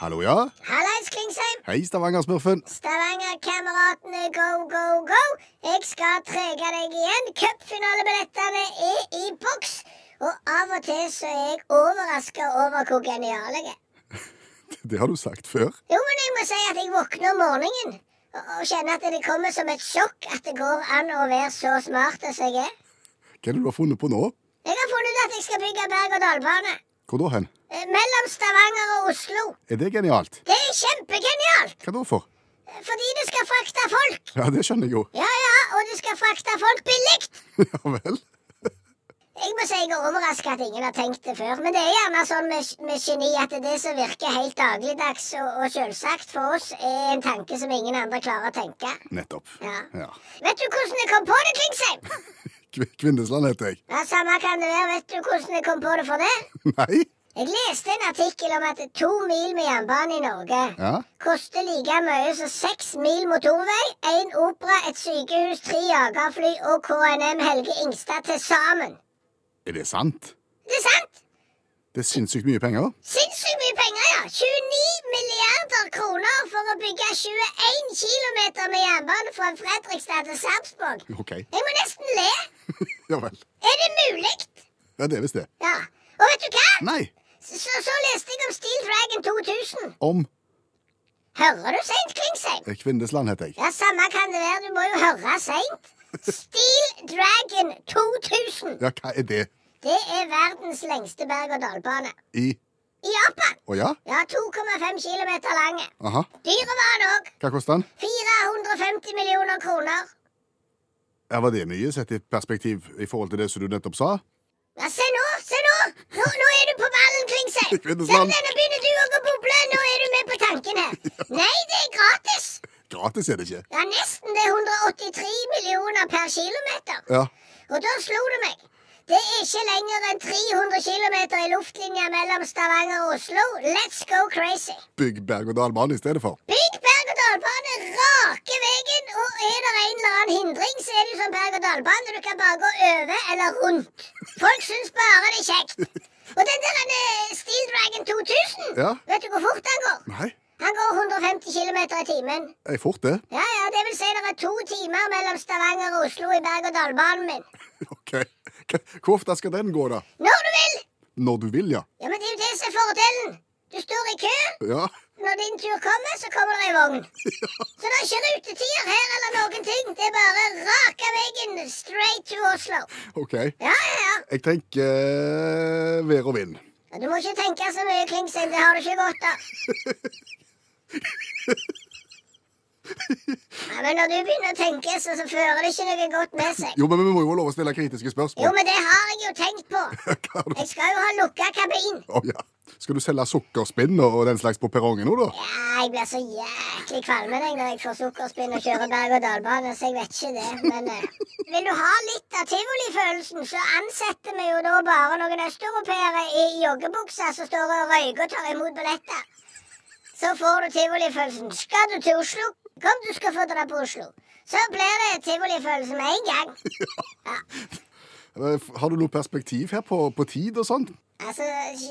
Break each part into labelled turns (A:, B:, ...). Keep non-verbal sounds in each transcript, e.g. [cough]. A: Hallo, ja?
B: Hallais, Klingsheim!
A: Hei, Stavanger-smurfen. [laughs]
B: Stavanger-kameratene, go, go, go! Jeg skal trege deg igjen. Cupfinalebillettene er i boks. Og av og til så er jeg overraska over hvor genial jeg er.
A: Det har du sagt før.
B: Jo, men jeg må si at jeg våkner om morgenen og- og kjenner at det kommer som et sjokk at det går an å være så smart som jeg er.
A: Hva er det du har funnet på nå?
B: Jeg har funnet ut at jeg skal bygge berg-og-dal-bane
A: Hvor da hen?
B: eh, mellom Stavanger og Oslo.
A: Er det genialt?
B: Det er kjempegenialt!
A: Hva da for?
B: eh, Fordi du skal frakte folk.
A: Ja, det skjønner jeg jo. [laughs]
B: Ja, ja, og du skal frakte folk billig.
A: ja vel.
B: Jeg må si jeg er overraska at ingen har tenkt det før. Men det er gjerne sånn med, med geni at det som virker helt dagligdags og, og selvsagt for oss, er en tanke som ingen andre klarer å tenke.
A: Nettopp.
B: Ja.
A: Ja.
B: Vet du hvordan jeg kom på det, Klingsheim?
A: Kv Kvindesland heter jeg. [laughs]
B: Ja, Samme kan det være. Vet du hvordan jeg kom på det for det?
A: Nei?
B: Jeg leste en artikkel om at to mil med jernbane i Norge
A: Ja.
B: koster like mye som seks mil motorvei, én opera, et sykehus, tre jagerfly og KNM Helge Ingstad til sammen.
A: Er det sant?
B: Det er sant!
A: Det er sinnssykt mye penger. [laughs]
B: Sinnssykt mye penger, ja! 29 milliarder kroner for å bygge 21 km med jernbane fra Fredrikstad til Sarpsborg.
A: OK.
B: Jeg må nesten le!
A: Ja vel.
B: Er det mulig?
A: Ja, det er visst det.
B: Ja. Og vet du hva?
A: Nei.
B: Så, så leste jeg om Steel Dragon 2000.
A: Om
B: Hører du seint, Klingsheim?
A: eh, Kvindesland heter jeg.
B: Ja, samme kan det være. Du må jo høre seint. Steel Dragon 2000.
A: Ja, hva er det
B: Det er verdens lengste berg-og-dal-bane.
A: i
B: I Japan.
A: Å ja?
B: Ja, 2,5 km lang.
A: Aha.
B: Dyre var den òg.
A: Hva koster den?
B: 450 millioner kroner.
A: Ja, Var det mye sett i perspektiv i forhold til det som du nettopp sa?
B: Ja, se nå, se nå! Nå, nå er du på ballen, Klingsheim.
A: Ikke minnes
B: Se,
A: land.
B: nå begynner du òg å boble. Nå er du med på tanken her. Nei, det er gratis.
A: Gratis er det ikke.
B: Ja, nesten. Det er 183 millioner per kilometer.
A: Ja.
B: Og da slo det meg. Det er ikke lenger enn 300 km i luftlinja mellom Stavanger og Oslo. Let's go crazy.
A: Bygg berg-og-dal-bane i stedet for.
B: Bygg berg-og-dal-bane rake veien, og er det en eller annen hindring, så er det jo sånn berg-og-dal-bane. Du kan bare gå over eller rundt. Folk syns bare det er kjekt. Og den der han, eh, Steel Dragon 2000,
A: Ja.
B: vet du hvor fort han går?
A: Nei,
B: Han går 150 km i timen.
A: jeg er fort det.
B: Ja, ja, det vil si det er to timer mellom Stavanger og Oslo i berg-og-dal-banen min.
A: Ok. K- Hvor ofte skal den gå, da?
B: Når du vil!
A: Når du vil, ja.
B: Ja, men det er jo det som er fordelen. Du står i kø.
A: Ja, [laughs]
B: Når din tur kommer, så kommer det ei vogn. Så det er ikke rutetider her eller noen ting. Det er bare raka veien straight to Oslo.
A: ok.
B: Ja, ja, ja.
A: Jeg tenker eh, vær og vind.
B: Ja, Du må ikke tenke så mye, Klingsheim. Det har du ikke godt av. Ja, men når du begynner å tenke, så, så fører det ikke noe godt med seg.
A: Jo, men vi må jo ha lov å stille kritiske
B: Jo,
A: spørsmål.
B: men det har jeg jo tenkt på.
A: [laughs] Hva har du-
B: Jeg skal jo ha lukka kabin.
A: Å, ja. Skal du selge sukkerspinn og og den slags på perrongen nå, da?
B: Ja, jeg blir så jæklig kvalm jeg, når jeg får sukkerspinn og kjører berg-og-dal-bane, så jeg vet ikke det. Men eh, vil du ha litt av tivolifølelsen, så ansetter vi jo da bare noen østeuropeere i joggebukser som står og røyker og tar imot billetter. Så får du tivolifølelsen. Skal du til Oslo? Kom, du skal få dra på Oslo. Så blir det tivolifølelse med en gang.
A: Eh, f- Har du noe perspektiv her på, på tid og sånt?
B: Altså,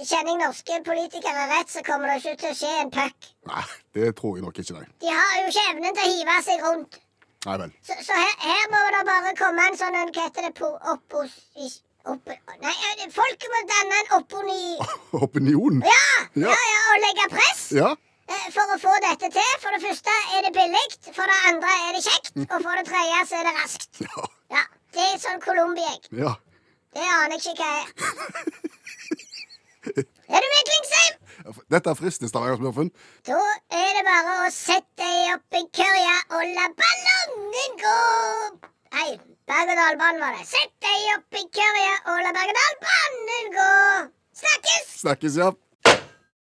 B: Kjenner jeg norske politikere rett, så kommer det ikke til å skje en puck.
A: Nei, det tror jeg nok ikke, nei.
B: De har jo ikke evnen til å hive seg rundt.
A: Nei vel. [laughs]
B: Så, så her, her må det bare komme en sånn en, Hva heter det po, oppos... is- Opp, nei, eh, folket må danne en opponi...
A: [laughs] Opinion?
B: Ja!
A: Ja.
B: Ja, ja, og legge press
A: Ja? [laughs]
B: eh, for å få dette til. For det første er det billig, for det andre er det kjekt,
A: Mm.
B: og for det tredje så er det raskt.
A: Ja.
B: Ja, Det er sånn Colombia-egg.
A: ja.
B: Det aner jeg ikke hva er.
A: [laughs]
B: Er du med, Klingsheim?
A: Dette frister Stavanger-smurfen.
B: Da er det bare å sette deg opp i kørja og la ballongen gå. Nei, berg-og-dal-banen var det. Sett deg opp i kørja og la berg-og-dal-banen gå. Snakkes!
A: Snakkes, ja.